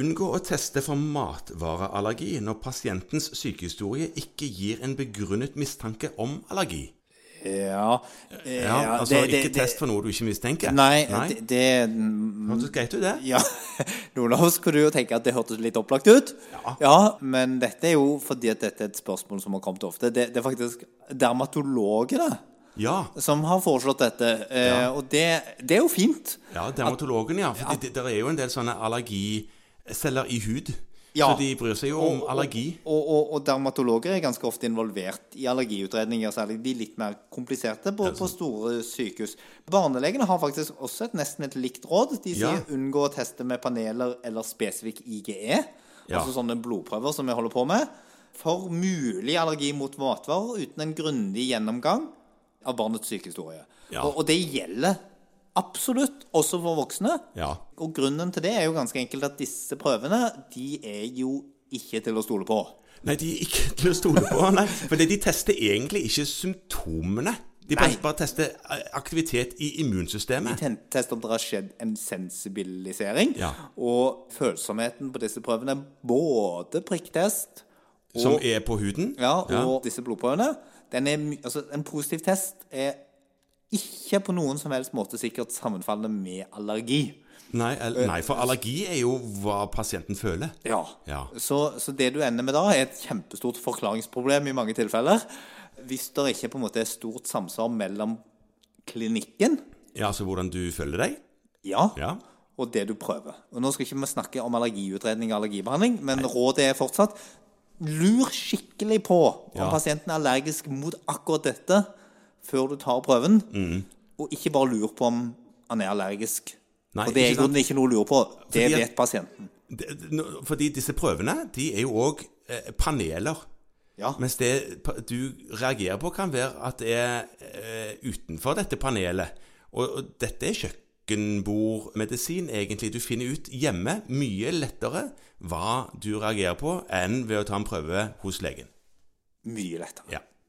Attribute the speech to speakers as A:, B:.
A: Unngå å teste for matvareallergi når pasientens sykehistorie ikke gir en begrunnet mistanke om allergi.
B: Ja, eh,
A: Ja, altså
B: det- det-
A: Ikke
B: det-
A: test for noe du ikke mistenker.
B: Nei,
A: Nei?
B: det, det
A: Hørtes greit ut, det.
B: Ja, Olav skulle jo tenke at det hørtes litt opplagt ut.
A: Ja.
B: Men dette er jo fordi at dette er et spørsmål som har kommet ofte. Det, det er faktisk dermatologene
A: Ja.
B: som har foreslått dette. Eh,
A: Ja.
B: Og det, det er jo fint.
A: ja dermatologen, ja. For det, det er jo en del sånne allergiceller i hud.
B: Ja.
A: Så de bryr seg jo om allergi.
B: Og, og, og dermatologer er ganske ofte involvert i allergiutredninger, særlig de litt mer kompliserte på, på store sykehus. Barnelegene har faktisk også et nesten et likt råd. De
A: Ja.
B: sier unngå å teste med paneler eller spesifikk IGE,
A: Ja.
B: altså sånne blodprøver som vi holder på med, for mulig allergi mot matvarer uten en grundig gjennomgang av barnets sykehistorie.
A: Ja.
B: Og, og det gjelder absolutt også for voksne.
A: Ja.
B: Og grunnen til det er jo ganske enkelt at disse prøvene, de er jo ikke til å stole på.
A: Nei, de er ikke til å stole på. Nei, for de tester egentlig ikke symptomene. De
B: Nei.
A: bare, bare tester eh, aktivitet i immunsystemet.
B: Ten- Test om det har skjedd en sensibilisering.
A: Ja.
B: Og følsomheten på disse prøvene, både prikktest
A: Som er på huden.
B: ja, og disse blodprøvene den er, my- altså, En positiv test er ikke på noen som helst måte sikkert sammenfallende med allergi.
A: Nei, el- nei, for allergi er jo hva pasienten føler.
B: Ja.
A: Ja.
B: Så, så det du ender med da, er et kjempestort forklaringsproblem i mange tilfeller. Hvis det ikke på en måte er stort samsvar mellom klinikken
A: Ja, altså hvordan du føler deg.
B: ja,
A: Ja.
B: og det du prøver. Og Nå skal ikke vi snakke om allergiutredning og allergibehandling, men rådet er fortsatt lur skikkelig på om
A: Ja.
B: pasienten er allergisk mot akkurat dette før du tar prøven,
A: Mm.
B: og ikke bare lur på om han er allergisk.
A: Nei,
B: For det er
A: ikke
B: i
A: sant.
B: grunnen ikke noe å lure på. Det
A: Fordi at-
B: vet pasienten.
A: Det- det- nå- Fordi disse prøvene, de er jo òg eh, paneler.
B: Ja.
A: Mens det pa- du reagerer på, kan være at det er eh, utenfor dette panelet. Og, og dette er kjøkkenbordmedisin, egentlig. Du finner ut hjemme mye lettere hva du reagerer på, enn ved å ta en prøve hos legen.
B: Mye lettere.
A: Ja.